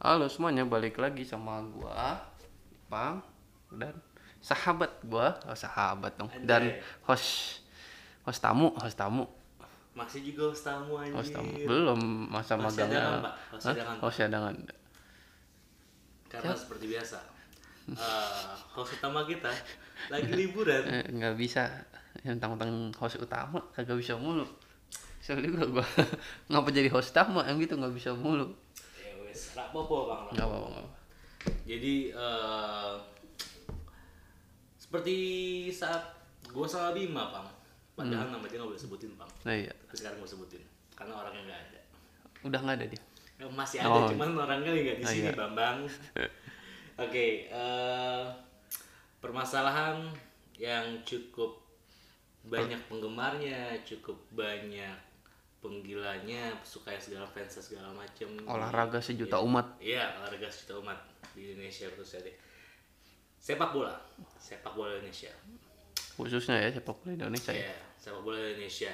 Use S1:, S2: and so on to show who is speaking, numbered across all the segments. S1: Halo semuanya, balik lagi sama gua, Pang dan sahabat gua, oh, sahabat dong. Dan
S2: Anjay.
S1: host host tamu, host tamu,
S2: Masih juga host tamu anjir.
S1: host tamu. Belum masa
S2: Host cadangan,
S1: magangnya.
S2: Pak. Host
S1: Hah?
S2: cadangan, Pak.
S1: Host cadangan.
S2: Karena seperti biasa. eh, host utama kita lagi liburan.
S1: Eh, nggak bisa yang tentang host utama kagak bisa mulu. Soalnya gua, gua ngapa jadi host tamu yang gitu nggak bisa mulu.
S2: Ya wes, rak popo, Bang.
S1: Nggak apa-apa. nggak apa-apa.
S2: Jadi eh, seperti saat gua sama Bima, Bang. Padahal nama dia nggak boleh sebutin, Bang.
S1: Nah, iya.
S2: Tapi sekarang gua sebutin karena orangnya nggak ada.
S1: Udah nggak ada dia.
S2: Ya, Masih ada,
S1: Oh.
S2: cuman orangnya nggak di
S1: Oh,
S2: sini,
S1: iya.
S2: Bambang. Oke, eh, permasalahan yang cukup banyak penggemarnya, cukup banyak penggilanya, suka segala fans segala macam.
S1: Olahraga sejuta umat.
S2: Iya, olahraga sejuta umat di Indonesia khususnya deh. Sepak bola, sepak bola Indonesia.
S1: Khususnya ya sepak bola Indonesia ya.
S2: Iya, sepak bola Indonesia.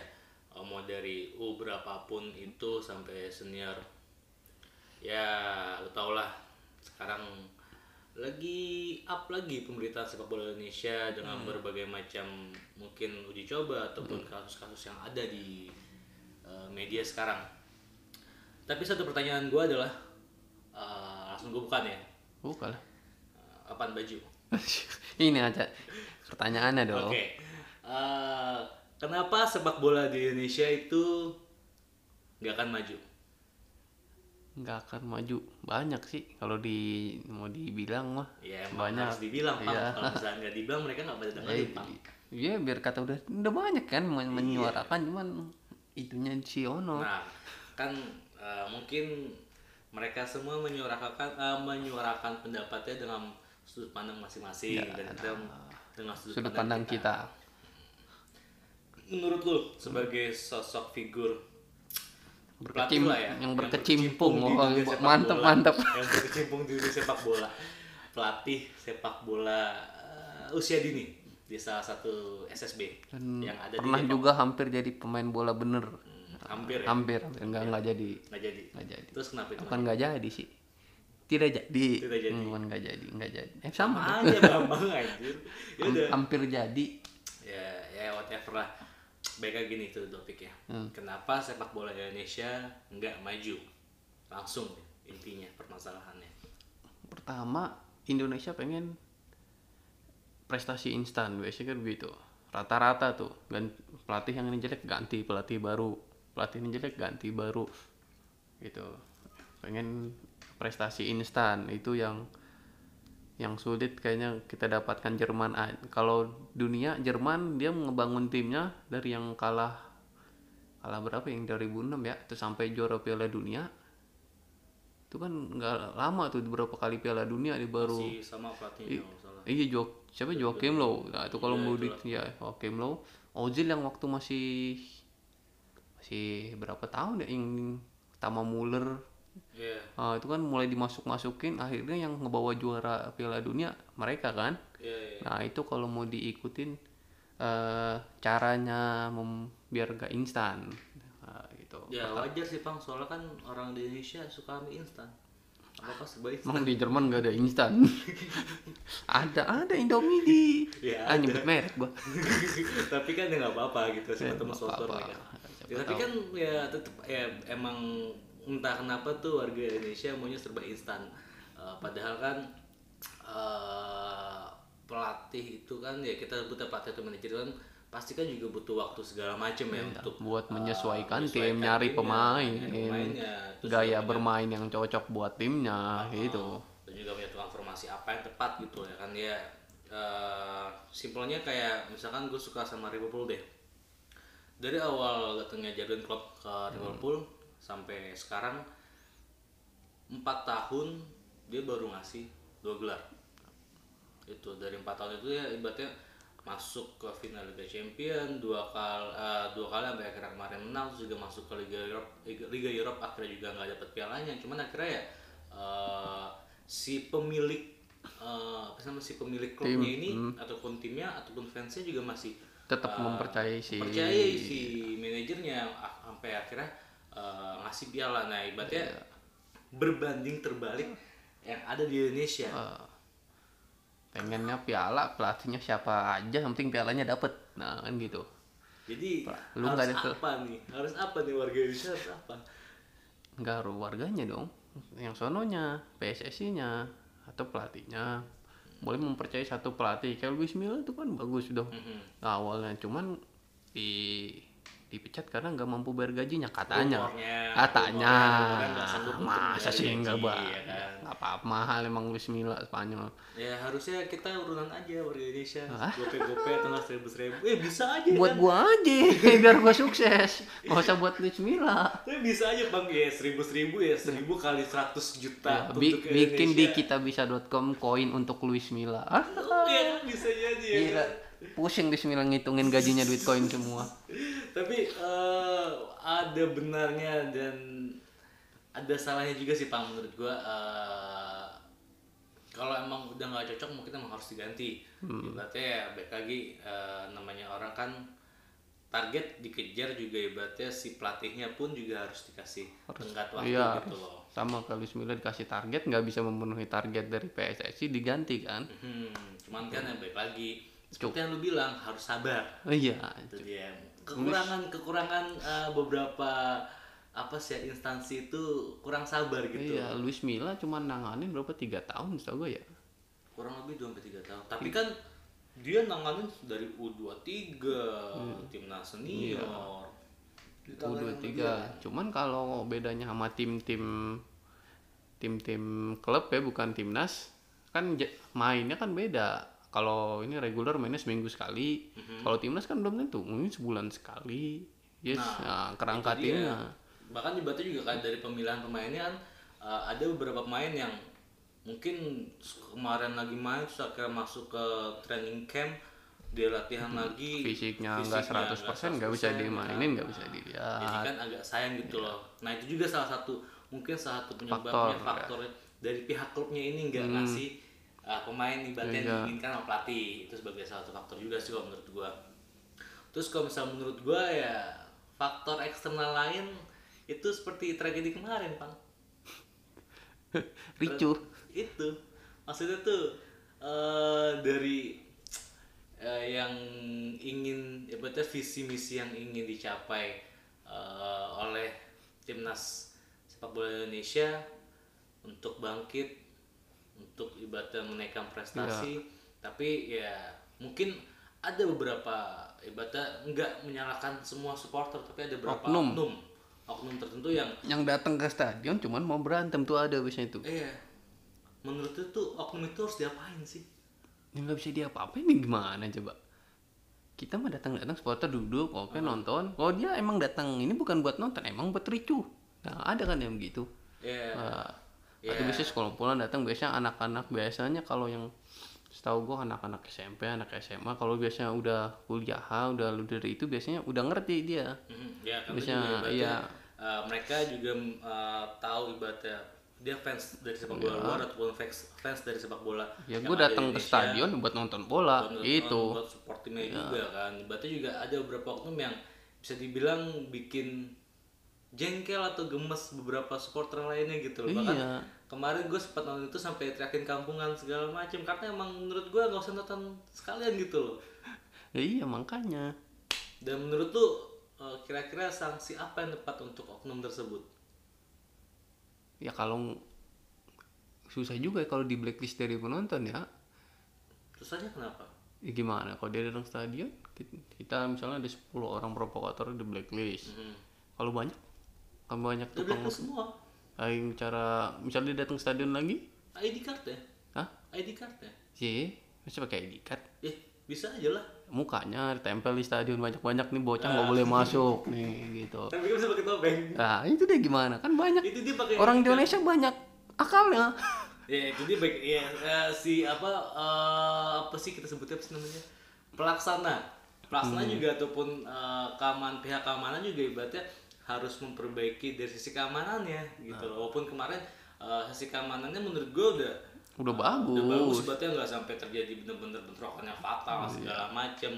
S2: Eh, Mau dari U berapapun itu sampai senior. Ya, lu tau lah. Sekarang lagi up lagi pemberitaan sepak bola Indonesia dengan berbagai macam mungkin uji coba ataupun kasus-kasus yang ada di eh, media sekarang. Tapi satu pertanyaan gua adalah, eh, langsung gue bukan ya,
S1: Buka lah.
S2: Eh, apaan baju?
S1: ini aja pertanyaannya dong
S2: Oke. Eh, kenapa sepak bola di Indonesia itu nggak akan maju?
S1: nggak akan maju banyak sih kalau di mau dibilang mah
S2: Ya emang
S1: banyak
S2: harus dibilang, Pak.
S1: Iya.
S2: Kalau misalnya nggak dibilang mereka nggak pada
S1: Eh,
S2: dengerin, Pak.
S1: iya biar kata udah udah banyak kan men- menyuarakan cuman itunya si Ono
S2: Iya. Nah, kan eh, mungkin mereka semua menyuarakan eh, menyuarakan pendapatnya dengan sudut pandang masing-masing dan kita dengan sudut,
S1: Iya, sudut
S2: pandang,
S1: pandang kita
S2: Menurut lu sebagai sosok figur
S1: berkecim
S2: pelatih lah ya,
S1: yang berkecimpung oh,
S2: di dunia sepak
S1: mantep
S2: bola.
S1: mantep
S2: yang berkecimpung di dunia sepak bola pelatih sepak bola eh, usia dini di salah satu SSB
S1: Dan
S2: yang ada
S1: pernah
S2: di Depok.
S1: juga hampir jadi pemain bola bener
S2: Hmm, hampir ya
S1: hampir hampir nggak nggak jadi
S2: nggak jadi
S1: nggak jadi
S2: terus kenapa itu
S1: bukan nggak jadi sih tidak jadi
S2: Tidak jadi.
S1: bukan nggak jadi nggak jadi eh, sama
S2: aja bambang anjir ya
S1: Ham-
S2: udah
S1: hampir jadi
S2: ya ya whatever lah baiknya gini itu topiknya
S1: Hmm.
S2: kenapa sepak bola Indonesia nggak maju langsung intinya permasalahannya
S1: pertama Indonesia pengen prestasi instan biasanya kan begitu rata-rata tuh Gan- pelatih yang ini jelek ganti pelatih baru pelatih ini jelek ganti baru gitu pengen prestasi instan itu yang yang sulit kayaknya kita dapatkan Jerman A- kalau dunia Jerman dia ngebangun timnya dari yang kalah kalah berapa yang 2006 ya itu sampai juara Piala Dunia itu kan nggak lama tuh berapa kali Piala Dunia dia baru
S2: si sama pelatihnya kalau nggak salah
S1: Iya Jok, siapa Joakim Low. Nah, itu kalau mau di ya Joakim Low. Ozil yang waktu masih masih berapa tahun ya yang Tama Muller.
S2: Iya.
S1: Ah, itu kan mulai dimasuk-masukin akhirnya yang ngebawa juara Piala Dunia mereka kan.
S2: Iya, iya.
S1: Nah, itu kalau mau diikutin eh caranya mem- biar gak instan. Nah, gitu.
S2: Ya wajar sih Pang, soalnya kan orang di Indonesia suka mie instan. Apa pas sebaik
S1: Emang di Jerman gak ada instan. ada ada Indomie di.
S2: Ya,
S1: ah, nyebut merek gua.
S2: Tapi kan ya nggak apa-apa gitu, siapa teman
S1: Iya,
S2: sponsor
S1: apa-apa.
S2: mereka. Ya, tapi kan ya tetap ya emang entah kenapa tuh warga Indonesia maunya serba instan. Eh, padahal kan eh, pelatih itu kan ya kita butuh pelatih atau manajer itu kan pasti kan juga butuh waktu segala macam ya untuk
S1: Iya, buat
S2: eh,
S1: menyesuaikan
S2: menyesuaikan
S1: tim, nyari
S2: timnya,
S1: pemain,
S2: nyari pemainnya, terus Ah,
S1: gaya
S2: juga punya-
S1: bermain yang cocok buat timnya gitu.
S2: dan juga punya transformasi apa yang tepat gitu ya kan dia eh, simpelnya kayak misalkan gue suka sama Liverpool deh dari awal datangnya Jurgen Klopp ke Liverpool sampai sekarang empat tahun dia baru ngasih dua gelar itu dari empat tahun itu ya ibaratnya masuk ke final Liga Champion dua kali eh, dua kali sampai akhirnya kemarin menang terus juga masuk ke Liga Europe Liga- Liga Europe akhirnya juga nggak dapet pialanya cuman akhirnya ya eh, si pemilik eh, apa sih namanya, si pemilik klubnya ini ataupun timnya ataupun fansnya juga masih
S1: Tetap
S2: eh,
S1: mempercayai si-
S2: mempercayai si
S1: Iya.
S2: manajernya ah, sampai akhirnya eh, ngasih piala nah ibaratnya berbanding terbalik yang ada di Indonesia.
S1: Eh, pengennya piala pelatihnya siapa aja yang penting pialanya dapet nah kan gitu
S2: Jadi
S1: Pak, lu
S2: harus
S1: nggak ada-
S2: apa nih? Harus apa nih warga Indonesia harus apa?
S1: nggak harus warganya dong yang sononya PSSI nya atau pelatihnya boleh mempercayai satu pelatih kayak Luis Milla itu kan bagus udah
S2: Mhm.
S1: awalnya cuman di dipecat karena nggak mampu bayar gajinya katanya
S2: Rumornya,
S1: katanya
S2: rumornya kan nggak sanggup untuk
S1: Ah, masa
S2: bayar
S1: sih
S2: gaji,
S1: nggak bayar
S2: ya kan?
S1: nggak apa-apa mahal emang Luis Milla Spanyol
S2: Ya harusnya kita urunan aja warga Indonesia. Gope-gope atau nggak seribu-seribu. Eh bisa aja
S1: buat
S2: kan?
S1: gua aja biar gua sukses nggak usah buat Luis Milla
S2: Tapi bisa aja bang ya seribu-seribu ya seribu kali seratus juta
S1: Ya,
S2: Nah, untuk
S1: bi-
S2: ke
S1: bikin di
S2: Indonesia.
S1: kitabisa.com koin untuk Luis Milla. Ah,
S2: Iya kan bisa jadi ya
S1: gila.
S2: kan?
S1: Pusing Luis Milla ngitungin gajinya duit koin semua.
S2: Tapi eh, ada benarnya dan ada salahnya juga sih Pang menurut gua eh, kalau emang udah nggak cocok mungkin emang harus diganti. Ibaratnya ya baik lagi eh, namanya orang kan target dikejar juga ibaratnya si pelatihnya pun juga harus dikasih tenggat waktu
S1: Iya.
S2: gitu loh.
S1: Sama kalau Luis Milla dikasih target nggak bisa memenuhi target dari PSSI diganti kan?
S2: Hmm, cuman kan yang baik lagi seperti yang lu bilang harus sabar.
S1: Oh, Iya.
S2: itu dia Gitu. kekurangan kekurangan eh, beberapa apa sih ya, instansi itu kurang sabar gitu
S1: Iya, Luis Milla cuma nanganin berapa tiga tahun setahu gue ya.
S2: kurang lebih dua sampai tiga tahun tapi
S1: Iya.
S2: kan dia nanganin dari U23
S1: Hmm.
S2: timnas senior Iya.
S1: U23. Cuman kalau bedanya sama tim-tim tim-tim klub ya bukan timnas kan ja- mainnya kan beda. Kalau ini reguler mainnya seminggu sekali. Kalau timnas kan belum tentu, mungkin sebulan sekali. Yes, nah, kerangka
S2: Itu dia.
S1: timnya.
S2: bahkan di Batu juga kan dari pemilihan pemainnya kan eh, ada beberapa pemain yang mungkin kemarin lagi main terus akhirnya masuk ke training camp dia latihan
S1: Hmm.
S2: lagi
S1: Fisiknya nggak 100% nggak bisa dimainin, nggak bisa dilihat.
S2: Jadi kan agak sayang gitu loh. Nah itu juga salah satu mungkin salah satu
S1: Iya.
S2: penyebabnya
S1: Faktor, ya. Hmm.
S2: faktor dari pihak klubnya ini nggak ngasih uh, pemain ibaratnya yang
S1: Iya.
S2: diinginkan sama pelatih itu sebagai salah satu faktor juga sih kalau menurut gua. Terus kalau misalnya menurut gua ya faktor eksternal lain itu seperti tragedi kemarin, Bang.
S1: Ricu.
S2: Itu maksudnya tuh eh, dari eh, yang ingin ibaratnya visi misi yang ingin dicapai eh, oleh timnas sepak bola Indonesia untuk bangkit untuk ibaratnya menaikkan prestasi tapi ya mungkin ada beberapa ibaratnya nggak menyalahkan semua supporter tapi ada beberapa
S1: Oknum.
S2: oknum oknum tertentu yang
S1: Yang datang ke stadion cuman mau berantem tuh ada biasanya itu.
S2: Iya. Menurut lu tuh oknum itu harus diapain sih?
S1: Ini nggak bisa diapa-apain nih gimana coba? Kita mah datang-datang supporter duduk, oke
S2: Ah.
S1: nonton. Kalau dia emang datang ini bukan buat nonton, emang buat ricu. Nah, ada kan yang begitu.
S2: Iya.
S1: Nah,
S2: Iya.
S1: Atau biasanya sekumpulan datang biasanya anak-anak biasanya kalau yang setahu gua anak-anak SMP, anak SMA kalau biasanya udah kuliah, udah lu dari itu biasanya udah ngerti dia.
S2: Mhm, Iya, karena
S1: Biasanya,
S2: juga ibaratnya,
S1: iya.
S2: eh, mereka juga eh, tahu ibaratnya dia fans dari sepak bola luar ataupun fans fans dari sepak bola.
S1: Iya. Ya
S2: yang
S1: gua
S2: ada di
S1: datang ke
S2: Indonesia.
S1: stadion buat nonton bola
S2: Buat-
S1: gitu.
S2: buat support timnya juga kan berarti juga ada beberapa oknum yang bisa dibilang bikin jengkel atau gemes beberapa supporter lainnya gitu loh bahkan
S1: Iya.
S2: kemarin gue sempat nonton itu sampai teriakin kampungan segala macam karena emang menurut gue nggak usah nonton sekalian gitu loh
S1: Ya, iya makanya.
S2: dan menurut lu eh, kira-kira sanksi apa yang tepat untuk oknum tersebut
S1: Ya kalau susah juga ya kalau di blacklist dari penonton ya.
S2: terus aja kenapa
S1: Ya gimana kalau dia datang stadion kita, kita misalnya ada 10 orang provokator di blacklist.
S2: hmm.
S1: Kalau banyak kan banyak
S2: udah
S1: tukang
S2: blacklist semua
S1: lain cara misalnya dia datang stadion lagi
S2: ID card ya
S1: Hah?
S2: ID card ya
S1: Iya, masih pakai ID card.
S2: eh bisa aja lah
S1: Mukanya tempel di stadion banyak-banyak nih bocah
S2: Ah.
S1: nggak boleh masuk nih gitu.
S2: tapi kan bisa pakai topeng
S1: Nah itu deh gimana kan banyak
S2: itu dia gitu. pakai
S1: orang Indonesia banyak akalnya.
S2: Ya, jadi baik ya eh, si apa eh, apa sih kita sebutnya apa sih namanya? Pelaksana. Pelaksana
S1: Hmm.
S2: juga ataupun eh, keamanan pihak keamanan juga ibaratnya harus memperbaiki dari sisi keamanannya gitu loh. Walaupun kemarin eh, sisi keamanannya menurut gue udah
S1: Udah
S2: Ah, udah bagus
S1: bagus.
S2: ibaratnya nggak sampai
S1: Iya.
S2: terjadi bener-bener bentrokan yang fatal segala macem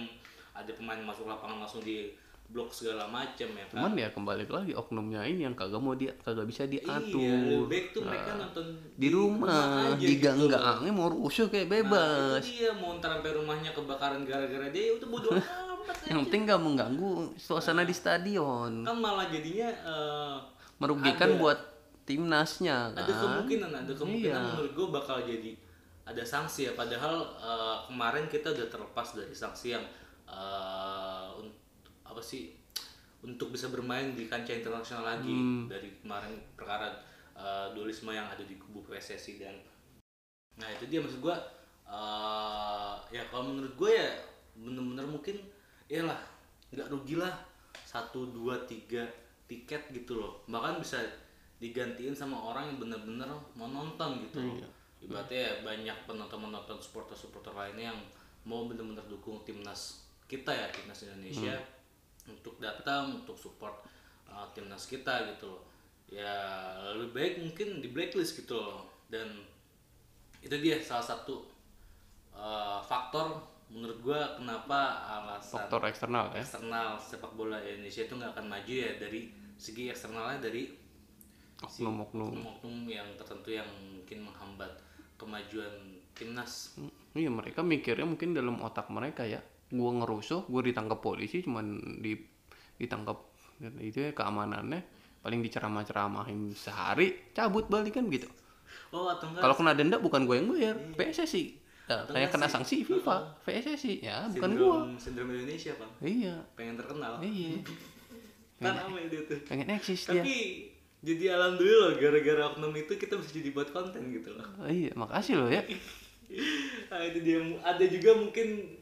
S2: ada pemain masuk lapangan langsung di blok segala macam ya kan.
S1: Cuman ya kembali lagi oknumnya ini yang kagak mau dia kagak bisa diatur.
S2: Iya, lebih baik tuh mereka
S1: Nah,
S2: nonton
S1: di rumah,
S2: aja
S1: di
S2: gitu.
S1: ganggang mau rusuh kayak
S2: Nah,
S1: bebas.
S2: itu dia mau ntar sampai rumahnya kebakaran gara-gara dia ya itu bodo amat
S1: yang penting nggak mengganggu suasana di stadion.
S2: kan malah jadinya eh,
S1: Merugikan
S2: Ada-
S1: buat timnasnya
S2: ada
S1: kan.
S2: kemungkinan ada kemungkinan
S1: Iya.
S2: menurut gue bakal jadi ada sanksi ya padahal eh, kemarin kita udah terlepas dari sanksi yang eh, un- apa sih untuk bisa bermain di kancah internasional lagi
S1: Hmm.
S2: dari kemarin perkara eh, dualisme yang ada di kubu PSSI dan nah itu dia maksud gue eh, ya kalau menurut gue ya bener-bener mungkin iyalah nggak rugilah satu dua tiga tiket gitu loh bahkan bisa digantiin sama orang yang bener-bener mau nonton gitu loh ibaratnya ya banyak penonton-penonton supporter-supporter lainnya yang mau bener-bener dukung timnas kita ya timnas Indonesia untuk datang untuk support uh, timnas kita gitu loh ya lebih baik mungkin di blacklist gitu loh dan itu dia salah satu uh, faktor menurut gua kenapa alasan
S1: Faktor eksternal ya.
S2: eksternal sepak bola Indonesia itu nggak akan maju ya dari segi eksternalnya dari
S1: Oknum-oknum.
S2: oknum yang tertentu yang mungkin menghambat kemajuan timnas
S1: Hmm, Iya mereka mikirnya mungkin dalam otak mereka ya, gua ngerusuh, gua ditangkap polisi cuman di ditangkap itu ya keamanannya paling diceramah-ceramahin sehari cabut balik kan gitu.
S2: oh atau enggak
S1: Kalau kena denda bukan gue yang bayar,
S2: Iya.
S1: PSSI. Nah, kayak kena sanksi FIFA, PSSI ya bukan gua.
S2: sindrom sindrom Indonesia bang
S1: Iya,
S2: pengen terkenal
S1: iya.
S2: kan ame dia tuh
S1: Pengen eksis dia.
S2: tapi jadi alhamdulillah gara-gara oknum itu kita bisa jadi buat konten gitu loh
S1: Iya, makasih loh ya.
S2: nah, itu dia ada juga mungkin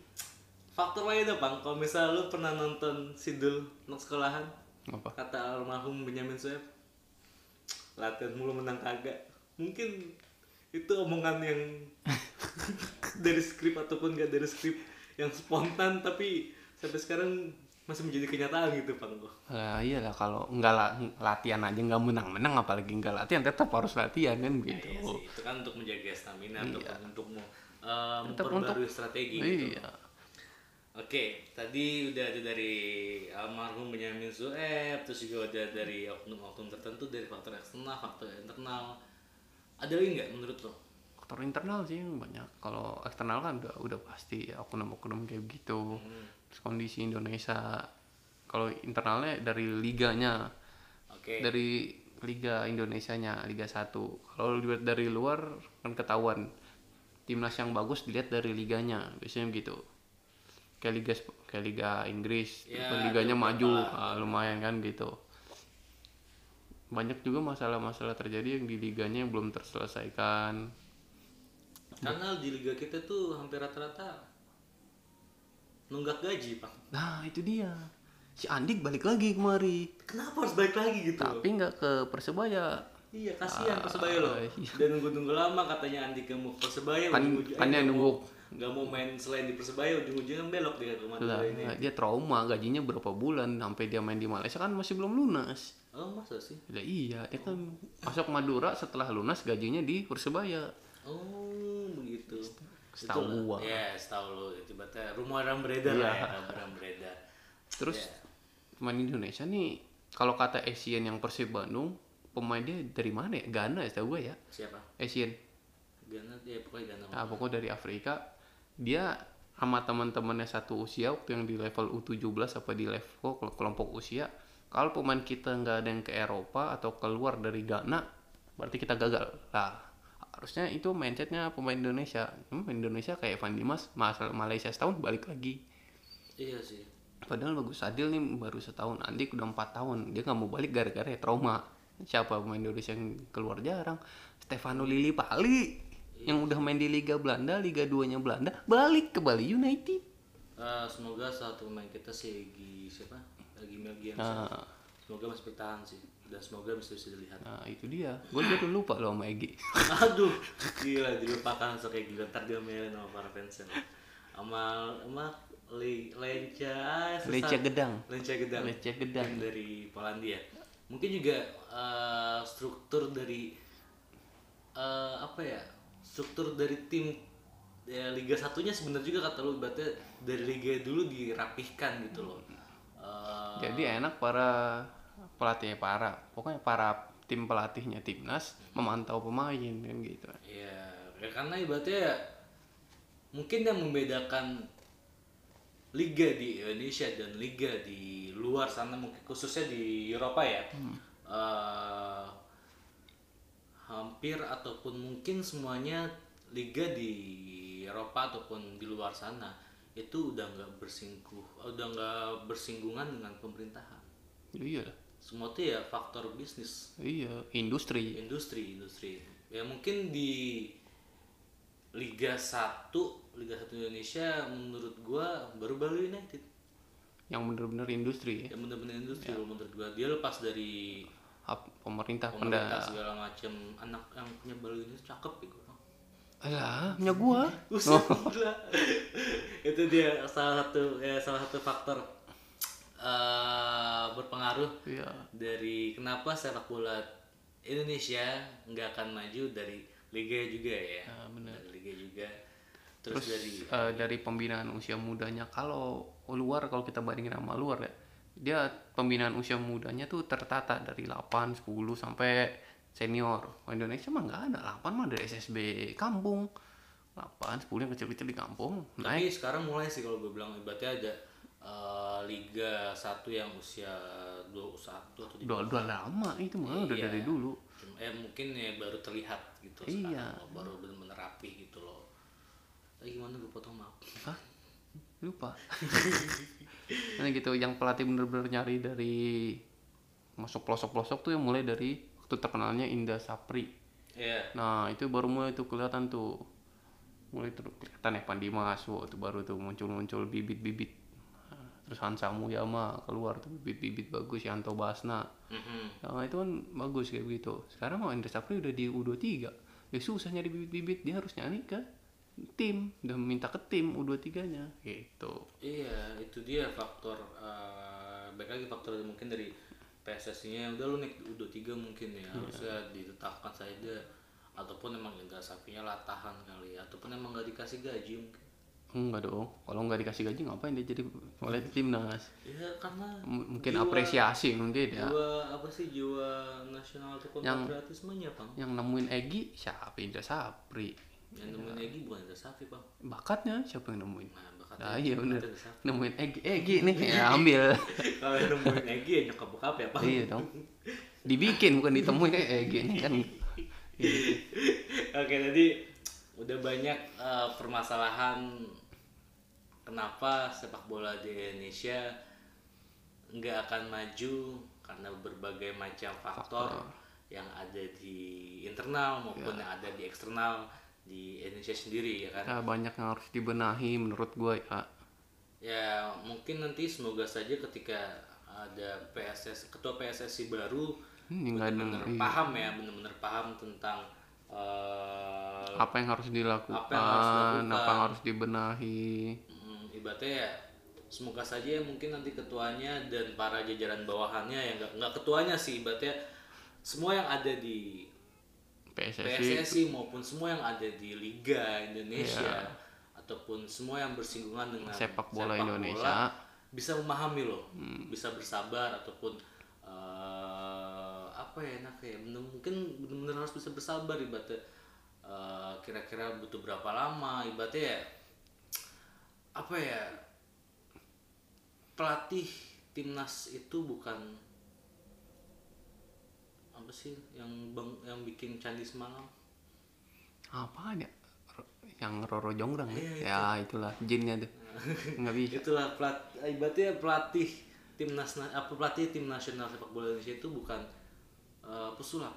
S2: faktor lain ya bang kalau misalnya lu pernah nonton sidul anak sekolahan
S1: Apa?
S2: kata almarhum Benyamin Sueb latihan mulu menang kagak mungkin itu omongan yang dari skrip ataupun gak dari skrip yang spontan tapi sampai sekarang masih menjadi kenyataan gitu bang
S1: Lah iyalah kalau nggak la- latihan aja nggak menang-menang apalagi nggak latihan tetap harus latihan kan gitu.
S2: Iya sih, itu kan untuk menjaga stamina ataupun untuk mau
S1: Tetap
S2: memperbarui strategi gitu.
S1: Iya.
S2: Oke, tadi udah ada dari almarhum Benyamin Sueb, terus juga udah dari oknum-oknum tertentu dari faktor eksternal, faktor internal. Ada lagi nggak menurut lo?
S1: Faktor internal sih yang banyak. Kalau eksternal kan udah udah pasti ya oknum-oknum kayak gitu.
S2: Hmm.
S1: Terus kondisi Indonesia. Kalau internalnya dari liganya,
S2: Oke,
S1: dari Liga Indonesianya, Liga 1. Kalau dilihat dari luar kan ketahuan timnas yang bagus dilihat dari liganya, biasanya begitu. Kayak liga Sp- kayak liga Inggris,
S2: Ya,
S1: kan liganya
S2: ada
S1: maju,
S2: beberapa.
S1: ah, lumayan kan gitu. Banyak juga masalah-masalah terjadi yang di liganya yang belum terselesaikan.
S2: karena di liga kita tuh hampir rata-rata nunggak gaji, Pak.
S1: Nah, itu dia. Si Andik balik lagi kemari,
S2: Kenapa harus balik lagi gitu? loh?
S1: tapi nggak ke Persebaya.
S2: Iya, kasihan Persebaya loh.
S1: iya.
S2: Dan nunggu-nunggu lama katanya Andi kamu Persebaya
S1: Kan-
S2: ujung-ujungnya
S1: kan yang
S2: nggak mau-
S1: nunggu.
S2: nggak mau main selain di Persebaya ujung-ujungnya kan belok dia ke
S1: Lah,
S2: Madura Iya, ini.
S1: dia trauma gajinya berapa bulan sampai dia main di Malaysia kan masih belum lunas.
S2: Oh, masa sih?
S1: Lah iya, dia kan masuk Madura setelah lunas gajinya di Persebaya.
S2: Oh, begitu.
S1: Setahu
S2: Itu-
S1: gua. Iya.
S2: Iya, setahu lu. Tiba-tiba rumor yang beredar lah ya, rumor yang beredar.
S1: Terus pemain Indonesia nih kalau kata Asian yang Persib Bandung, pemain dia dari mana ya? Ghana ya setahu gue ya.
S2: Siapa?
S1: Asian.
S2: Gana, ya pokoknya Gana.
S1: Nah, pokoknya dari Afrika dia sama teman-temannya satu usia waktu yang di level U17 apa di level kel- kelompok usia kalau pemain kita nggak ada yang ke Eropa atau keluar dari Ghana berarti kita gagal lah harusnya itu mindsetnya pemain Indonesia Hmm, pemain Indonesia kayak Van Dimas masal Malaysia setahun balik lagi
S2: Iya sih.
S1: padahal bagus Adil nih baru setahun Andik udah empat tahun dia nggak mau balik gara-gara ya trauma siapa pemain Indonesia yang keluar jarang Stefano Lili Pali yang udah main di Liga Belanda Liga 2 nya Belanda balik ke Bali United
S2: Eh, semoga satu pemain kita si Egi siapa? Egi Melgian.
S1: nah,
S2: Semoga masih bertahan sih dan semoga masih bisa dilihat.
S1: nah, itu dia gue jadi lupa loh sama Egy
S2: Aduh, gila dilupakan so kayak gila ntar diomelin sama para fansnya. Sama sama Le- lenca ah, susah.
S1: Lenca Gedang.
S2: Lenca Gedang.
S1: Lenca Gedang.
S2: Yang dari Polandia. Mungkin juga eh, struktur dari eh, apa ya? Struktur dari tim ya, Liga satunya sebenarnya juga kata lu berarti dari liga dulu dirapihkan gitu loh. Eh, eh,
S1: Jadi enak para pelatihnya para, pokoknya para tim pelatihnya timnas memantau pemain kan gitu.
S2: ya, ya karena ibaratnya mungkin yang membedakan liga di Indonesia dan liga di luar sana mungkin khususnya di Eropa ya eh, hampir ataupun mungkin semuanya liga di Eropa ataupun di luar sana itu udah nggak bersingkuh udah nggak bersinggungan dengan pemerintahan
S1: Iya lah.
S2: semua itu ya faktor bisnis
S1: Iya, industri.
S2: industri industri ya mungkin di Liga 1 Liga 1 Indonesia menurut gua baru Bali United
S1: Yang bener-bener industri ya.
S2: yang benar-benar industri kalau menurut gua dia lepas dari
S1: Ap- Pemerintah,
S2: pemerintah
S1: pemerintah.
S2: segala macam anak yang punya Bali United cakep ya gua
S1: Lah, punya gua.
S2: Buset, gila. itu dia salah satu ya, salah satu faktor eh, berpengaruh
S1: Iya.
S2: dari kenapa sepak bola Indonesia nggak akan maju dari liga juga ya
S1: Ah,
S2: dari liga juga terus, dari
S1: Eh, dari pembinaan usia mudanya kalau luar kalau kita bandingin sama luar ya dia pembinaan usia mudanya tuh tertata dari 8, 10 sampai senior. Kalau Indonesia mah nggak ada 8 mah dari SSB kampung. 8, 10 yang kecil-kecil di kampung. Naik
S2: tapi sekarang mulai sih kalau gue bilang ibaratnya ada eh, liga satu yang usia 21 atau tiga
S1: udah, udah lama itu mah udah dari dulu.
S2: Cuma- eh mungkin ya baru terlihat gitu
S1: Iya.
S2: sekarang loh, baru bener-bener rapi gitu loh tapi gimana gue potong maaf
S1: Hah? Lupa. nah gitu yang pelatih bener-bener nyari dari masuk pelosok-pelosok tuh yang mulai dari waktu terkenalnya Indah Sapri.
S2: Iya
S1: Nah, itu baru mulai tuh kelihatan tuh. Mulai tuh kelihatan ya Pandimas, wah itu baru tuh muncul-muncul bibit-bibit. Nah, Terus Hansa Muyama keluar tuh bibit-bibit bagus, Yanto Basna.
S2: Mhm.
S1: Nah, itu kan bagus kayak begitu. Sekarang mau Indra Sapri udah di U23. Ya susah nyari bibit-bibit, dia harus nyari ke tim. Udah minta ke tim U23-nya. Gitu.
S2: Iya, itu dia faktor eh baik lagi faktor mungkin dari PSSI-nya Ya udah lu naik udah tiga mungkin
S1: Iya.
S2: ya harusnya ditetapkan saja ataupun emang enggak sapinya latahan kali ya ataupun emang nggak dikasih gaji mungkin
S1: Enggak dong. Kalau nggak dikasih gaji ngapain dia jadi oleh timnas?
S2: ya karena
S1: M-
S2: Iya.
S1: Mungkin apresiasi mungkin ya.
S2: jiwa apa sih jiwa nasional atau konservatismenya bang
S1: Yang nemuin Egi siapa Indra Sapri?
S2: yang nemuin Egi bukan ada Safi bang
S1: bakatnya siapa yang nemuin
S2: nah bakatnya
S1: nah iya bener
S2: ada Safi.
S1: nemuin Egi Egi nih ya, ambil
S2: kalau yang nemuin Egi ya nyokap bokap ya bang
S1: iya dong dibikin bukan ditemuin eh, Egi nih kan
S2: Oke, jadi udah banyak eh, permasalahan kenapa sepak bola di Indonesia nggak akan maju karena berbagai macam faktor yang ada di internal maupun yang ada di eksternal di Indonesia sendiri ya kan.
S1: Nah, banyak yang harus dibenahi menurut gue ya
S2: Ya mungkin nanti semoga saja ketika ada PSS ketua PSSI baru
S1: Hmm, nggak ada
S2: benar
S1: iya.
S2: paham ya benar-benar paham tentang eh,
S1: apa yang harus dilakukan
S2: Apa yang harus dilakukan.
S1: apa yang harus dibenahi
S2: Hmm, ibaratnya ya semoga saja ya mungkin nanti ketuanya dan para jajaran bawahannya yang nggak nggak ketuanya sih ibaratnya semua yang ada di
S1: PSSI
S2: PSSI maupun semua yang ada di
S1: Iya.
S2: Liga Indonesia ataupun semua yang bersinggungan dengan
S1: Sepak bola Indonesia.
S2: bisa memahami loh bisa bersabar ataupun eh, apa ya enaknya ya bener- mungkin benar-benar harus bisa bersabar ibaratnya eh, kira-kira butuh berapa lama ibaratnya ya, apa ya pelatih timnas itu bukan apa sih yang bang yang bikin candi semalam
S1: apa ya Ro- yang Roro Jonggrang
S2: Iya,
S1: ya, ya itulah jinnya tuh nggak bisa
S2: itulah pelat ibaratnya pelatih timnas na- apa pelatih tim nasional sepak bola Indonesia itu bukan eh, pesulap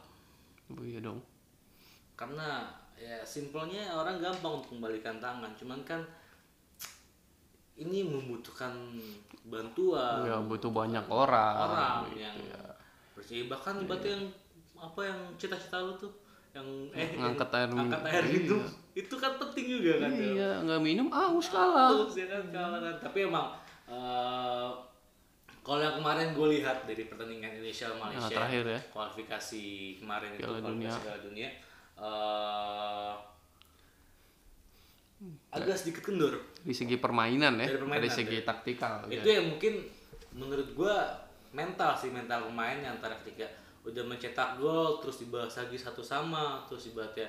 S1: Oh, iya dong
S2: karena ya simpelnya orang gampang untuk membalikan tangan cuman kan ini membutuhkan bantuan
S1: ya butuh banyak orang,
S2: orang yang
S1: ya.
S2: bersih bahkan
S1: Iya.
S2: ibaratnya yang apa yang cita-cita lu tuh yang eh yang
S1: Ngangkat air
S2: angkat
S1: minum.
S2: air gitu itu kan penting juga kan dalam
S1: iya nggak minum aus kalah
S2: Terus ya kan kalah kan. Tapi emang eh, kalau yang kemarin gue lihat dari pertandingan Indonesia
S1: Nah,
S2: Malaysia
S1: terakhir ya.
S2: kualifikasi kemarin itu
S1: Piala
S2: kualifikasi Piala Dunia eh, agak sedikit kendur
S1: dari segi permainan ya
S2: Dari
S1: dari,
S2: permainan, ya,
S1: segi taktikal
S2: itu ya mungkin menurut gua mental sih mental pemain antara ketika udah mencetak gol terus dibahas lagi satu sama terus ibaratnya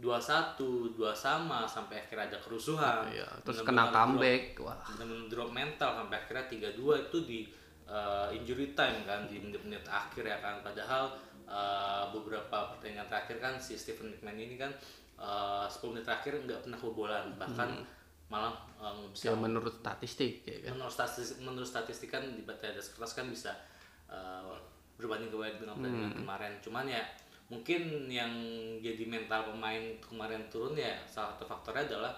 S2: dua satu dua sama sampai akhirnya ada kerusuhan
S1: Iya, terus kena
S2: Benar-benar drop-
S1: comeback. Wah,
S2: benar-benar drop mental sampai akhirnya 3-2 itu di uh, injury time kan di menit-menit akhir ya kan padahal uh, beberapa pertandingan terakhir kan si Stephen McMahon ini kan uh, 10 menit terakhir nggak pernah kebobolan bahkan malah um, bisa
S1: ya menurut statistik ya kan.
S2: menurut statistik menurut statistik kan di Batai Adas Kertas kan bisa uh, berbanding kebalik dengan pertandingan kemarin cuman ya mungkin yang jadi mental pemain kemarin turun ya salah satu faktornya adalah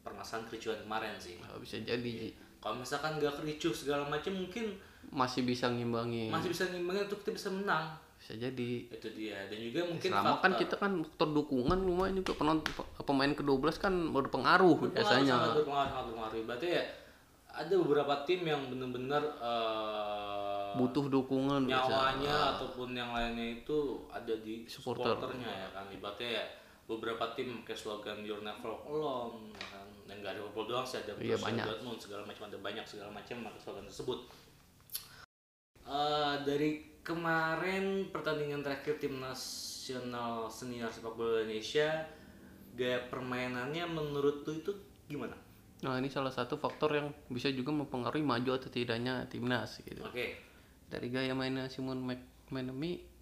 S2: permasalahan kericuan kemarin sih
S1: Nah, Bisa jadi
S2: kalau misalkan gak kericuh segala macam mungkin
S1: masih bisa ngimbangi.
S2: masih bisa ngimbangin untuk kita bisa menang
S1: Bisa jadi.
S2: itu dia dan juga mungkin
S1: Selama kan
S2: faktor-
S1: kita kan faktor dukungan lumayan juga penonton pemain ke-12 kan berpengaruh
S2: berpengaruh, sangat
S1: biasanya.
S2: berpengaruh sangat berpengaruh berarti ya ada beberapa tim yang benar-benar eh,
S1: Butuh dukungan biasanya.
S2: nyawanya ataupun yang lainnya itu ada di
S1: Supporter.
S2: supporternya ya kan ibaratnya ya beberapa tim kayak slogan You're Never Walk Alone ya kan dan gak ada Liverpool doang sih ada
S1: Iya,
S2: Borussia
S1: banyak.
S2: Dortmund segala macam ada banyak segala macam maka slogan tersebut Eh, dari kemarin pertandingan terakhir tim nasional senior sepak bola Indonesia gaya permainannya menurut lu itu gimana?
S1: Nah, ini salah satu faktor yang bisa juga mempengaruhi maju atau tidaknya timnas gitu.
S2: Oke,
S1: Dari gaya mainnya Simon McManamy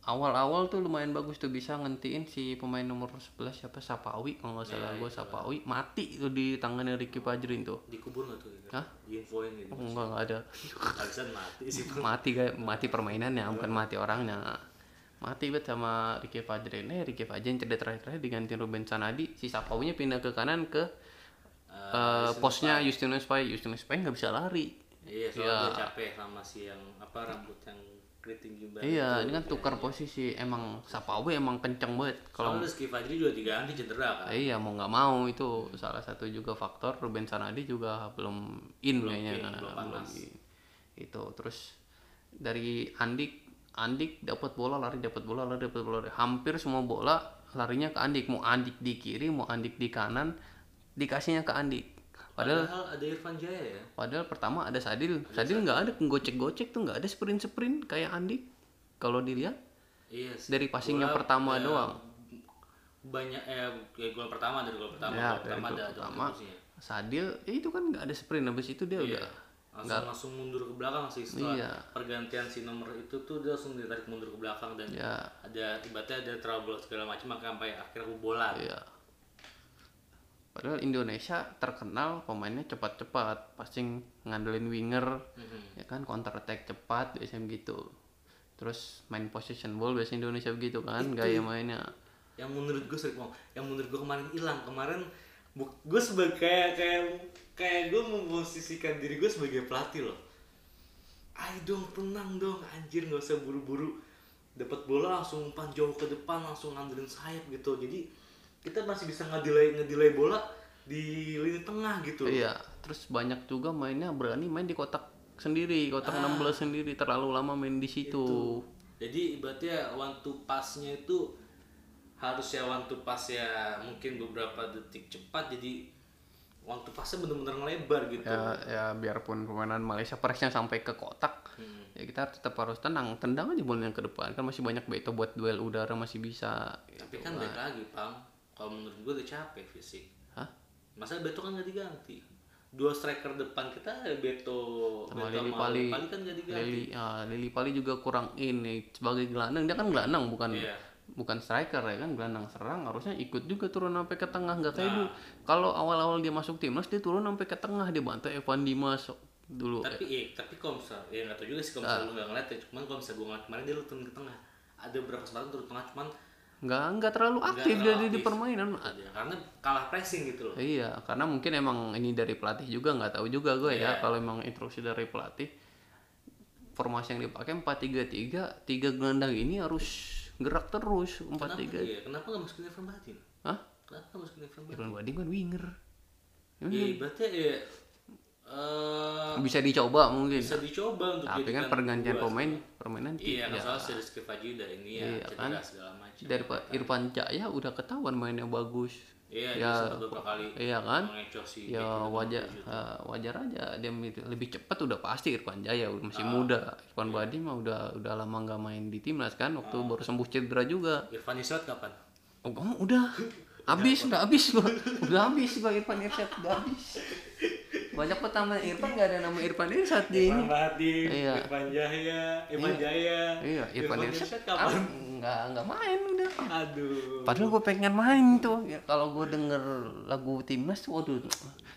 S1: awal-awal tuh lumayan bagus tuh bisa ngentiin si pemain nomor 11 siapa Sapawi kalau nggak salah gue Sapawi mati itu di tangannya Ricky Fajrin tuh
S2: dikubur nggak tuh?
S1: Hah?
S2: Diinfoin gitu.
S1: enggak enggak ada
S2: Alisan mati sih.
S1: mati gaya, mati permainannya bukan mati orangnya mati bet sama Ricky Fajrin eh Ricky Fajrin cedera terakhir-terakhir digantiin Ruben Sanadi si Sapawinya pindah ke kanan ke
S2: Eh,
S1: eh, posnya Justinus Pai Justinus Pai nggak bisa lari
S2: Iya, soalnya dia capek sama si yang apa rambut yang keriting gimbal.
S1: Iya, ini kan tukar posisi. Emang Sapawe emang kenceng banget. Kalau
S2: Kalau Rizky Fajri juga diganti cedera kan.
S1: iya mau nggak mau itu salah satu juga faktor. Ruben Sanadi juga belum in kayaknya.
S2: in, belum panas.
S1: in. Itu terus dari Andik Andik dapat bola lari dapat bola lari dapat bola lari. hampir semua bola larinya ke Andik mau Andik di kiri mau Andik di kanan dikasihnya ke Andik padahal
S2: Padahal ada Irfan Jaya ya.
S1: Padahal pertama ada Sadil, Sadil nggak ada gocek-gocek tuh nggak ada sprint-sprint kayak Andik. Kalau dilihat
S2: Iya. sih.
S1: dari passingnya pertama doang.
S2: Banyak eh ya, gol pertama dari gol pertama.
S1: Ya,
S2: gol
S1: dari
S2: pertama
S1: gol
S2: ada
S1: pertama.
S2: kontribusinya.
S1: Sadil ya itu kan nggak ada sprint habis itu dia udah
S2: Langsung langsung mundur ke belakang sih setelah
S1: Iya.
S2: pergantian si nomor itu tuh dia langsung ditarik mundur ke belakang dan
S1: ya
S2: ada tiba-tiba ada trouble segala macam maka sampai akhirnya kebobolan.
S1: ya. Padahal Indonesia terkenal pemainnya cepat-cepat, passing ngandelin winger,
S2: Mhm.
S1: ya kan counter attack cepat biasanya gitu. Terus main possession ball biasanya Indonesia begitu kan gaya mainnya.
S2: yang menurut gue sering ngomong yang menurut gue kemarin hilang kemarin gue sebagai kayak kayak kayak gue memposisikan diri gue sebagai pelatih loh ayo dong tenang dong anjir nggak usah buru-buru dapat bola langsung umpan jauh ke depan langsung ngandelin sayap gitu jadi kita masih bisa ngedelay ngedelay bola di lini tengah gitu
S1: Iya, terus banyak juga mainnya berani main di kotak sendiri, kotak 16 sendiri, terlalu lama main di situ.
S2: Jadi ibaratnya one to pass-nya itu harusnya one to pass ya mungkin beberapa detik cepat jadi one to pass-nya bener-bener ngelebar gitu.
S1: Ya, ya biarpun permainan Malaysia pressnya sampai ke kotak,
S2: Hmm.
S1: ya kita tetap harus tenang, tendang aja bolanya ke depan. Kan masih banyak beto buat duel udara masih bisa.
S2: Tapi kan balik lagi, Pang. Kalau menurut gue udah capek fisik.
S1: Hah?
S2: Masa Beto kan gak diganti. Dua striker depan kita ada Beto
S1: Sama
S2: Beto
S1: Lili Pali.
S2: kan gak
S1: Lili,
S2: diganti.
S1: ah, Lili Pali juga kurang ini sebagai gelandang, dia kan gelandang bukan
S2: Iya.
S1: bukan striker ya kan gelandang serang harusnya ikut juga turun sampai ke tengah nggak
S2: Nah.
S1: kayak dulu kalau awal-awal dia masuk timnas dia turun sampai ke tengah dia bantai Evan Dimas dulu
S2: Tapi iya, tapi kalau misal, ya gak tau juga sih kalau
S1: Ah.
S2: misal lu gak ngeliat ya. Cuman kalau misal gue ngeliat kemarin dia turun ke tengah. Ada beberapa kesempatan turun ke tengah, cuman
S1: nggak nggak terlalu aktif dia di- di
S2: aktif.
S1: permainan
S2: ya, karena kalah pressing gitu loh.
S1: iya karena mungkin emang ini dari pelatih juga nggak tahu juga gue ya
S2: Iya.
S1: kalau emang instruksi dari pelatih formasi yang dipakai empat tiga tiga tiga gelandang ini harus gerak terus empat Iya,
S2: Kenapa
S1: tiga
S2: dia? Kenapa gak masukin Irfan Batin?
S1: Hah?
S2: Kenapa gak masukin Irfan Batin?
S1: Irfan Badim kan winger. Emang
S2: Ya, ibaratnya ya eh,
S1: Bisa dicoba mungkin.
S2: bisa dicoba untuk
S1: Tapi kan
S2: jadikan
S1: pergantian
S2: dua-
S1: pemain permainan
S2: Iya, kan
S1: tidak.
S2: soalnya si Rizky Fajri udah ini ya,
S1: Iya,
S2: cedera segala macam.
S1: Dari Pak Irfan Jaya udah ketahuan mainnya bagus.
S2: Iya,
S1: Ya,
S2: dia sempat beberapa kali
S1: iya kan?
S2: mengecoh si
S1: ya
S2: Beckham.
S1: wajar eh, wajar aja dia lebih- lebih cepat udah pasti Irfan Jaya udah
S2: Ah,
S1: masih muda
S2: iya.
S1: Irfan Badi mah udah udah lama nggak main di timnas kan waktu
S2: Ah.
S1: baru sembuh cedera juga
S2: Irfan Israt kapan?
S1: oh kamu udah
S2: Iya,
S1: habis udah habis gua udah habis gua Irfan Irsyad udah habis banyak banget nama Irfan nggak ada nama Irfan Irsyad di ini
S2: Rahadi,
S1: Iya.
S2: Irfan Jaya, Irfan Jaya.
S1: iya Irfan Irsyad
S2: Irsyad
S1: ah,
S2: kapan?
S1: nggak nggak main udah
S2: Aduh.
S1: Padahal gue pengen main tuh. Ya, kalau gue denger lagu timnas tuh, waduh,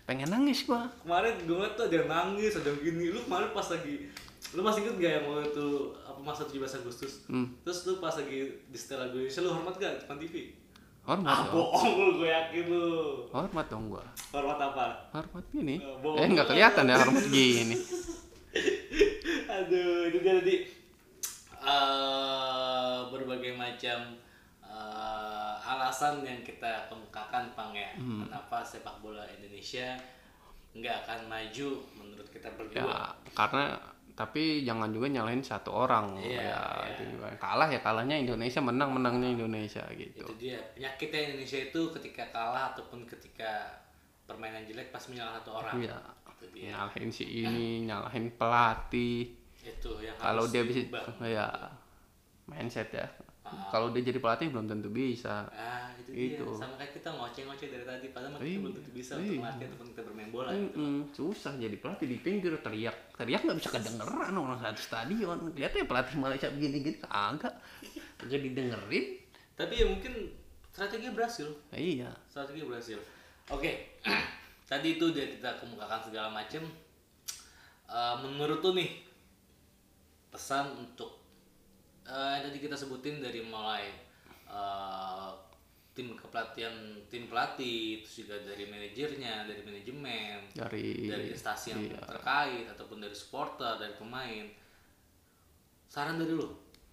S1: pengen nangis gue.
S2: Kemarin gue ngeliat tuh ada yang nangis, ada yang gini. Lu kemarin pas lagi lu masih inget gak yang waktu itu apa masa 17 Agustus?
S1: Hmm.
S2: Terus lu pas lagi di setel lagu Indonesia lu hormat gak depan TV? Ah,
S1: Hormat dong.
S2: bohong lu, gue yakin lu.
S1: Hormat dong gue.
S2: Hormat apa?
S1: Hormat gini.
S2: Eh, bohong.
S1: Eh nggak kelihatan ya hormat gini.
S2: Aduh, itu dia tadi eh, berbagai macam eh, alasan yang kita kemukakan Pang ya.
S1: Hmm.
S2: Kenapa sepak bola Indonesia nggak akan maju menurut kita berdua.
S1: Ya karena tapi jangan juga nyalahin satu orang ya
S2: Iya, iya.
S1: itu juga. kalah ya kalahnya Indonesia menang menangnya Indonesia gitu
S2: Itu dia penyakitnya Indonesia itu ketika kalah ataupun ketika permainan jelek pasti menyalahkan satu orang.
S1: ya
S2: Itu dia.
S1: nyalahin si ini nyalahin pelatih
S2: Itu yang
S1: kalau
S2: harus
S1: dia bisa
S2: diubah.
S1: ya mindset ya kalau dia jadi pelatih belum tentu bisa
S2: Ah, itu,
S1: Itu.
S2: dia. Sama kayak kita ngoceh-ngoceh dari tadi padahal kita belum tentu bisa untuk melatih ataupun kita bermain bola.
S1: Mm-mm, susah jadi pelatih di pinggir teriak teriak nggak bisa kedengeran orang satu stadion lihatnya pelatih Malaysia begini gini kagak jadi dengerin
S2: Tapi ya mungkin strategi berhasil.
S1: Nah, iya
S2: Strategi berhasil. Oke. Tadi itu dia kita kemukakan segala macam. Eh, menurut tuh nih pesan untuk eh, yang tadi kita sebutin dari mulai eh, tim kepelatihan tim pelatih terus juga dari manajernya dari manajemen
S1: dari
S2: dari instansi yang
S1: iya.
S2: terkait ataupun dari supporter dari pemain saran dari lu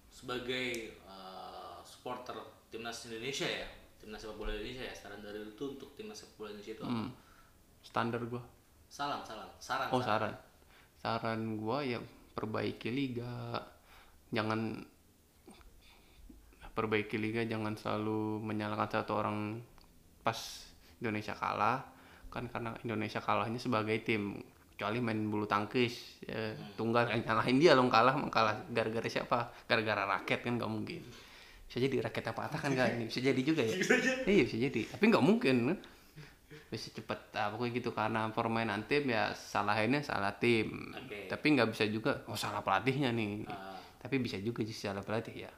S2: sebagai eh, supporter timnas Indonesia ya timnas sepak bola Indonesia ya saran dari lu tuh untuk timnas sepak bola Indonesia itu apa?
S1: Hmm, standar gua
S2: salam salam saran
S1: oh
S2: saran.
S1: saran saran gua ya perbaiki liga jangan perbaiki liga jangan selalu menyalahkan satu orang pas Indonesia kalah kan karena Indonesia kalahnya sebagai tim kecuali main bulu tangkis ya, tunggal yang nyalahin dia lo kalah emang kalah gara-gara siapa gara-gara raket kan nggak mungkin bisa jadi raketnya patah kan nggak ini bisa jadi juga ya iya bisa jadi tapi nggak mungkin kan? bisa cepet ah, pokoknya gitu karena permainan tim ya salahinnya salah tim
S2: Oke.
S1: tapi nggak bisa juga oh salah pelatihnya nih
S2: Ah.
S1: tapi bisa juga sih salah pelatih ya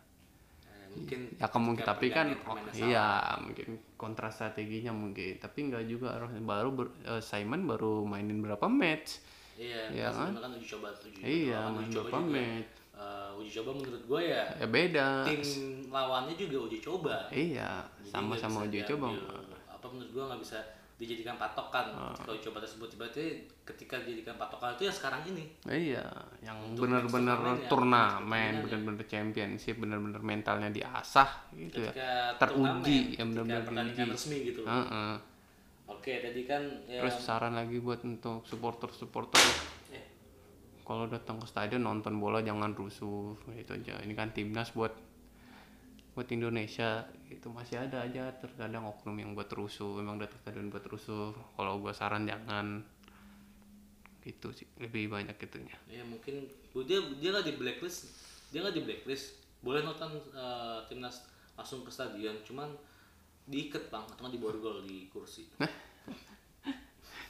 S2: Eh, mungkin
S1: ya kamu
S2: ketika
S1: tapi kan
S2: pergantian
S1: oh,
S2: permainan salah.
S1: iya mungkin kontra strateginya mungkin tapi nggak juga harus baru ber- eh, Simon baru mainin berapa match
S2: iya
S1: Iya
S2: kan sebelumnya kan uji coba uji
S1: iya
S2: lawan
S1: main
S2: uji coba
S1: berapa
S2: juga.
S1: match
S2: Eh, uji coba menurut gue ya
S1: ya beda
S2: tim lawannya juga uji coba
S1: iya
S2: Jadi
S1: sama-sama
S2: nggak bisa
S1: uji coba
S2: diambil- apa menurut gua nggak bisa dijadikan patokan
S1: Ah.
S2: kalau coba tersebut tiba-tiba ya, ketika dijadikan patokan itu ya sekarang ini
S1: iya yang
S2: Untuk match
S1: benar-benar
S2: turnamen ya, match turnamen ya.
S1: turnamen benar-benar championship benar-benar mentalnya diasah gitu ya
S2: ketika
S1: teruji ya
S2: turnamen, ketika
S1: benar-benar
S2: pertandingan
S1: diuji
S2: resmi gitu
S1: Heeh.
S2: oke tadi kan ya,
S1: terus saran lagi buat untuk supporter-supporter
S2: eh,
S1: kalau datang ke stadion nonton bola jangan rusuh itu aja ini kan timnas buat buat Indonesia itu masih ada aja terkadang oknum yang buat rusuh memang datang ke stadion buat rusuh kalau gua saran jangan gitu sih lebih banyak itunya
S2: ya mungkin dia dia nggak di blacklist dia nggak di blacklist boleh nonton eh, timnas langsung ke stadion cuman diikat bang atau nggak diborgol di kursi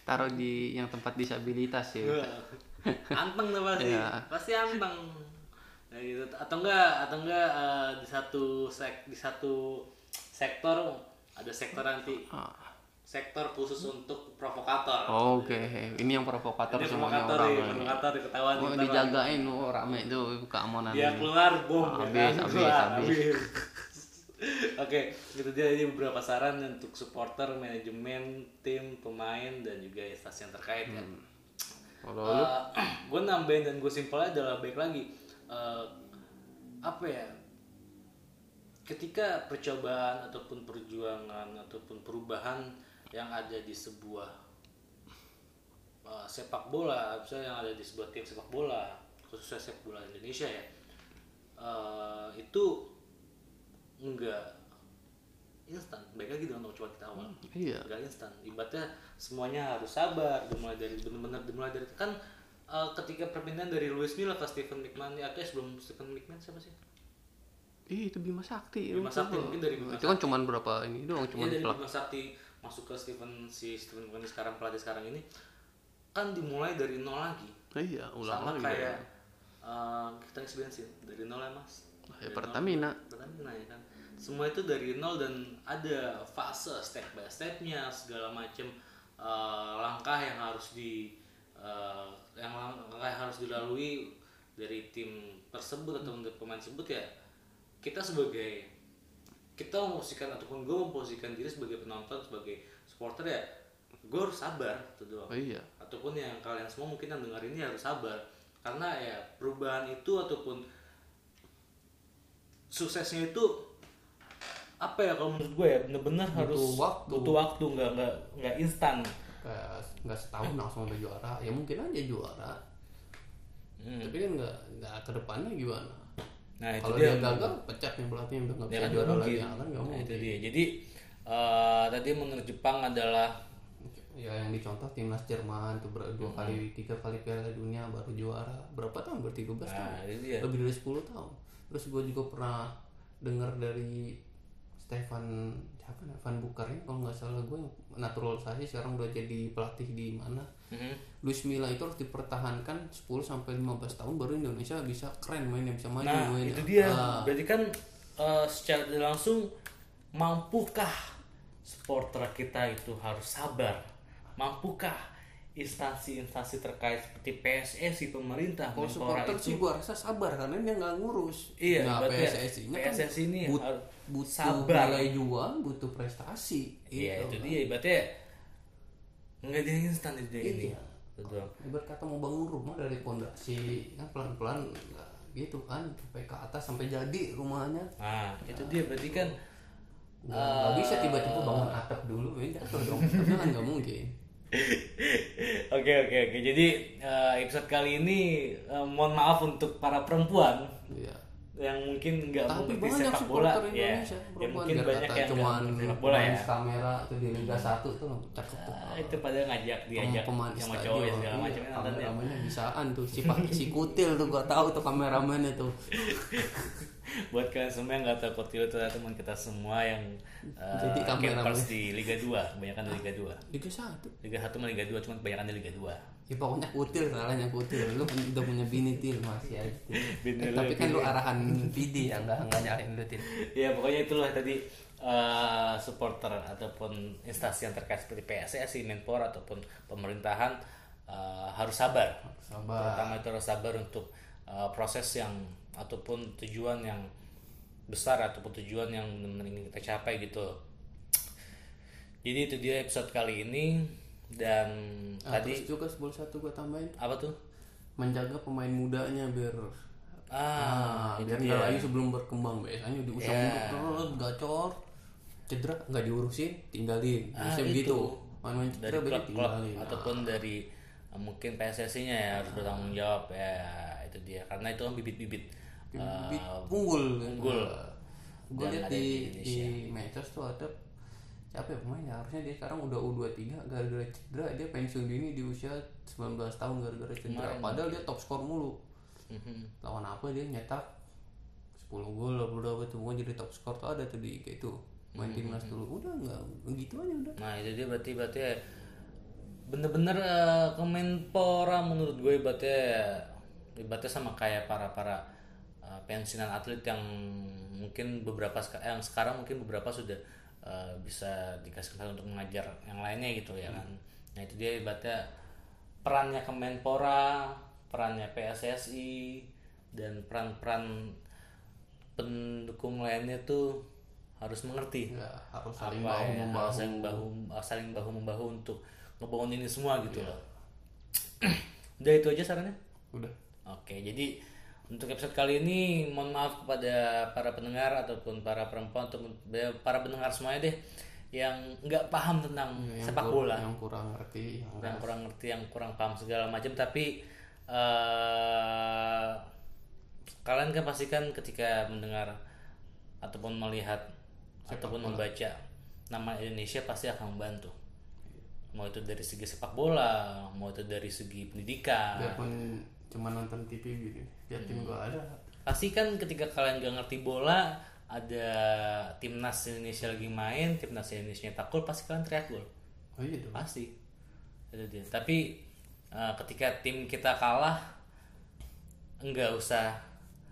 S1: taruh di yang tempat disabilitas ya
S2: Iya. anteng tuh pasti
S1: Iya.
S2: pasti anteng Nah, gitu. atau enggak atau enggak eh, di satu sek di satu sektor ada sektor nanti
S1: Ah,
S2: sektor khusus untuk provokator
S1: oke ini yang provokator
S2: Ini
S1: semuanya
S2: provokator
S1: Oh, orang
S2: ya provokator diketahuan
S1: Oh,
S2: diketahuan.
S1: dijagain oh rame tuh keamanan
S2: dia keluar bom
S1: Habis,
S2: ya kan?
S1: habis,
S2: Keluar,
S1: habis.
S2: habis. oke gitu dia jadi beberapa saran untuk supporter manajemen tim pemain dan juga instansi yang terkait ya
S1: Hmm. kalau lu
S2: gue Eh, nambahin dan gue simpelnya adalah baik lagi eh, apa ya ketika percobaan ataupun perjuangan ataupun perubahan yang ada di sebuah eh, sepak bola misalnya yang ada di sebuah tim sepak bola khususnya sepak bola Indonesia ya eh, itu enggak instan baik lagi dengan coba kita awal
S1: Iya.
S2: gak instan ibaratnya semuanya harus sabar dimulai dari benar-benar dimulai dari kan eh, ketika perpindahan dari Luis Milla ke Stephen McMahon ya guys sebelum Stephen McMahon siapa sih
S1: Ih, itu Bima Sakti.
S2: Bima
S1: itu.
S2: Sakti, mungkin dari Bima
S1: Itu kan cuman berapa ini doang,
S2: Iya
S1: cuman
S2: dari
S1: pelak.
S2: Bima Sakti masuk ke Stephen si Stephen McMahon sekarang pelatih sekarang ini kan dimulai dari nol lagi
S1: Iya, ulang
S2: sama
S1: lagi.
S2: kayak
S1: dong.
S2: eh, kita ngisi bensin dari nol ya mas
S1: Ya,
S2: Dari nol.
S1: Pertamina.
S2: Pertamina ya kan semua itu dari nol dan ada fase step by stepnya segala macam eh, langkah yang harus di eh, yang lang- langkah yang harus dilalui dari tim tersebut atau dari pemain tersebut ya kita sebagai kita memposisikan ataupun gue memposisikan diri sebagai penonton sebagai supporter ya gue harus sabar itu doang
S1: Oh, iya.
S2: ataupun yang kalian semua mungkin yang dengar ini harus sabar karena ya perubahan itu ataupun suksesnya itu apa ya kalau menurut gue ya bener-bener harus
S1: waktu.
S2: butuh waktu nggak nggak nggak instan
S1: Kayak nggak setahun langsung udah juara. Ya mungkin aja juara. Tapi kan nggak nggak ke depannya gimana?
S2: Hmm. nah itu
S1: Kalau
S2: dia
S1: dia gagal, pecat yang pelatih yang nggak
S2: Ya
S1: bisa
S2: kan,
S1: juara
S2: nggak
S1: lagi,
S2: mungkin.
S1: ya kan nggak
S2: Nah,
S1: mungkin.
S2: itu dia jadi eh, tadi menurut Jepang adalah
S1: Ya yang dicontoh timnas Jerman tuh ber-
S2: Hmm.
S1: dua kali, tiga kali Piala Dunia baru juara. Berapa tahun? Berarti 13 tahun.
S2: nah itu dia
S1: lebih dari 10 tahun terus gue juga pernah dengar dari Stefan siapa ya, Van Bukar ya, kalau nggak salah gue yang naturalisasi sekarang udah jadi pelatih di mana
S2: Mhm.
S1: Luis Milla itu harus dipertahankan 10 sampai 15 tahun baru Indonesia bisa keren mainnya bisa maju
S2: nah
S1: mainnya.
S2: itu dia
S1: Ah,
S2: berarti kan eh, secara tidak langsung mampukah supporter kita itu harus sabar mampukah instansi-instansi terkait seperti PSSI pemerintah
S1: kalau
S2: Menpora
S1: supporter sih gue rasa sabar karena dia nggak ngurus
S2: Iya,
S1: nah,
S2: berarti ya,
S1: PSSI -nya kan
S2: PSSI ini
S1: but-
S2: harus
S1: butuh
S2: sabar.
S1: nilai jual butuh prestasi
S2: Iya
S1: gitu.
S2: itu dia ibaratnya nggak jadi instan di dunia ini.
S1: Iya.
S2: Itu doang.
S1: ibarat kata mau bangun rumah dari pondasi kan pelan-pelan nah, gitu kan sampai ke atas sampai jadi rumahnya
S2: Nah itu dia berarti kan
S1: nggak nggak
S2: Eh,
S1: bisa tiba-tiba bangun atap dulu ya jatuh dong Tapi kan nggak mungkin
S2: Oke oke oke jadi eh, episode kali ini eh, mohon maaf untuk para perempuan
S1: iya
S2: yang mungkin nggak
S1: tapi
S2: mengerti
S1: banyak
S2: sepak bola
S1: supporter
S2: ya,
S1: Indonesia
S2: ya
S1: perempuan
S2: mungkin
S1: Biar
S2: banyak
S1: kata
S2: yang nggak
S1: cuman
S2: mengerti sepak bola ya
S1: main kamera tuh di Liga 1 tuh cakep tuh
S2: Ah, itu padahal ngajak diajak
S1: pemain
S2: sama cowok ya
S1: stadion.
S2: segala
S1: Iya,
S2: macam nonton ya.
S1: kameramennya bisaan tuh si Pak- si kutil tuh gua tahu tuh kameramennya tuh
S2: buat kalian semua yang nggak tahu Coutinho itu adalah teman kita semua yang eh,
S1: Jadi kameramen.
S2: keepers di Liga 2 kebanyakan di Liga 2
S1: Liga 1
S2: Liga 1 sama Liga 2 cuma kebanyakan di Liga 2
S1: Ya pokoknya kutil salahnya kutil Lu pun- udah punya bini til masih aja Til.
S2: Bini
S1: Eh,
S2: lu,
S1: Tapi kan lu arahan Vidi ya Enggak, enggak nyalahin lu til
S2: ya pokoknya itulah tadi eh, supporter ataupun instansi yang terkait seperti PSSI, Menpora ataupun pemerintahan eh, harus sabar.
S1: Sabar.
S2: Terutama itu harus sabar untuk eh, proses yang ataupun tujuan yang besar ataupun tujuan yang benar-benar ingin kita capai gitu. Jadi itu dia episode kali ini dan
S1: Nah,
S2: tadi
S1: Terus juga sebelum satu gua tambahin
S2: apa tuh?
S1: Menjaga pemain mudanya biar
S2: Ah,
S1: ah,
S2: ya.
S1: Biar nggak layu sebelum berkembang Biasanya diusap dulu terus gacor Cedera nggak diurusin tinggalin
S2: Ah,
S1: Biasanya begitu Main-main
S2: dari
S1: cedera begitu
S2: klub-klub
S1: tinggalin
S2: ataupun dari eh, mungkin PSSI-nya ya
S1: Ah.
S2: harus bertanggung jawab ya itu dia karena itu kan bibit-bibit
S1: Bibit unggul
S2: unggul.
S1: gue
S2: Dan
S1: lihat
S2: Ah. ada di
S1: di di Manchester tuh ada siapa ya pemain ya? harusnya dia sekarang udah U23 gara-gara cedera dia pensiun dini di usia 19 tahun gara-gara cedera padahal dia top skor mulu
S2: Mhm.
S1: lawan apa dia nyetak 10 gol lah berapa tuh pokoknya jadi top skor tuh ada tuh di kayak itu main
S2: Hmm,
S1: timnas dulu udah nggak begitu aja udah
S2: nah itu dia berarti berarti ya, bener-bener eh, Kemenpora menurut gue berarti eh, ibaratnya sama kayak para para eh, pensiunan atlet yang mungkin beberapa seka- yang sekarang mungkin beberapa sudah eh, bisa dikasih kesempatan untuk mengajar yang lainnya gitu ya kan nah itu dia ibaratnya perannya Kemenpora, perannya PSSI, dan peran-peran pendukung lainnya tuh harus mengerti
S1: ya harus saling
S2: apa
S1: bahu
S2: ya,
S1: membahu
S2: saling bahu eh, saling bahu membahu untuk ngebangun ini semua gitu
S1: Iya.
S2: loh. Udah itu aja sarannya.
S1: udah
S2: Oke, jadi untuk episode kali ini mohon maaf kepada para pendengar ataupun para perempuan ataupun para pendengar semuanya deh yang nggak paham tentang sepak bola
S1: Iya, yang kurang ngerti yang
S2: yang kurang ngerti yang kurang paham segala macam tapi eh, kan kalian kan pastikan ketika mendengar ataupun melihat ataupun membaca nama Indonesia pasti akan membantu mau itu dari segi sepak bola mau itu dari segi pendidikan
S1: Ya. Biarpun cuma nonton TV gitu. Biar tim
S2: Hmm.
S1: gua ada.
S2: pasti kan ketika kalian gak ngerti bola ada timnas Indonesia lagi main timnas Indonesia nyetak gol pasti kalian teriak gol
S1: Oh iya dong.
S2: pasti itu dia tapi eh, ketika tim kita kalah nggak usah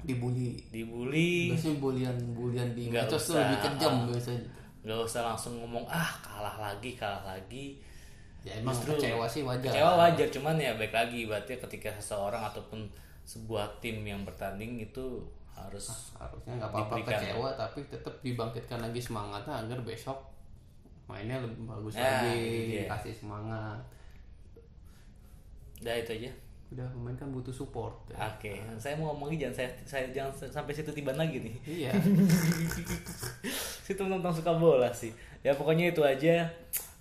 S1: Dibully.
S2: dibully
S1: Biasanya bulian bulian di
S2: Nggak
S1: medsos tuh
S2: usah.
S1: lebih kejam biasanya.
S2: nggak usah langsung ngomong ah kalah lagi kalah lagi
S1: Ya emang
S2: Justru
S1: kecewa sih wajar.
S2: kecewa wajar cuman ya baik lagi berarti ketika seseorang ataupun sebuah tim yang bertanding itu harus
S1: Harusnya nggak apa-apa kecewa tapi tetap dibangkitkan lagi semangatnya agar besok mainnya lebih bagus
S2: Ya, gitu
S1: lagi,
S2: ya.
S1: kasih semangat.
S2: dah itu aja
S1: Udah pemain kan butuh support. ya.
S2: oke saya mau ngomongin jangan saya, saya jangan sampai situ tiban lagi nih
S1: Iya.
S2: situ tentang suka bola sih ya pokoknya itu aja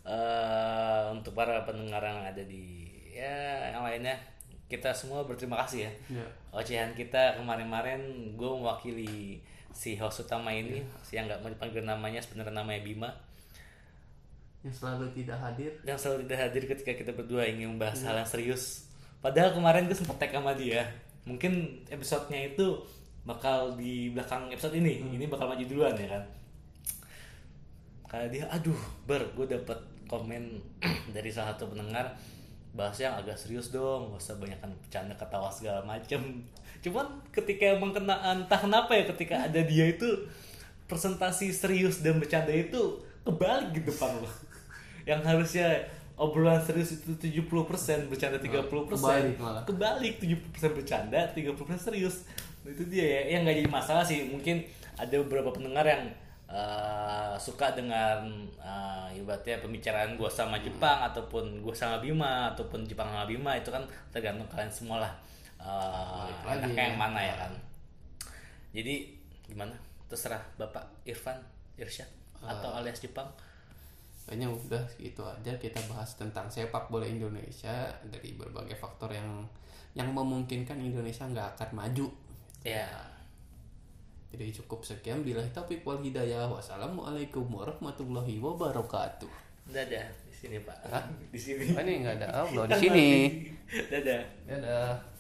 S2: Eh, untuk para pendengar yang ada di ya yang lainnya kita semua berterima kasih ya
S1: Iya.
S2: ocehan kita kemarin-kemarin gue mewakili si host utama ini si yang nggak mau dipanggil namanya sebenarnya namanya Bima
S1: Yang selalu tidak hadir
S2: yang selalu tidak hadir ketika kita berdua ingin membahas hal yang serius padahal kemarin gue sempet tag sama dia mungkin episodenya itu bakal di belakang episode ini ini bakal maju duluan ya kan kayak dia aduh ber gue dapet komen dari salah satu pendengar bahasnya agak serius dong gak usah banyakkan bercanda ketawa segala macem cuman ketika emang kena entah kenapa ya ketika ada dia itu presentasi serius dan bercanda itu kebalik di depan lo yang harusnya obrolan serius itu 70% bercanda 30%
S1: Kebalik malah.
S2: kebalik 70% bercanda 30% serius Nah, itu dia ya yang nggak jadi masalah sih mungkin ada beberapa pendengar yang eh, suka dengan eh, ibaratnya pembicaraan gua sama Jepang ataupun gua sama Bima ataupun Jepang sama Bima itu kan tergantung kalian semua lah Eh,
S1: Balik lagi.
S2: enaknya yang mana ya kan jadi gimana terserah Bapak Irfan Irsyad
S1: Eh.
S2: atau alias Jepang
S1: Kayaknya udah gitu aja kita bahas tentang sepak bola Indonesia dari berbagai faktor yang yang memungkinkan Indonesia nggak akan maju.
S2: ya
S1: Jadi cukup sekian bila topik wal hidayah. Wassalamualaikum warahmatullahi wabarakatuh.
S2: dadah di sini Pak di sini
S1: Oh, Ini nggak ada Allah di sini.
S2: dadah
S1: Dadah.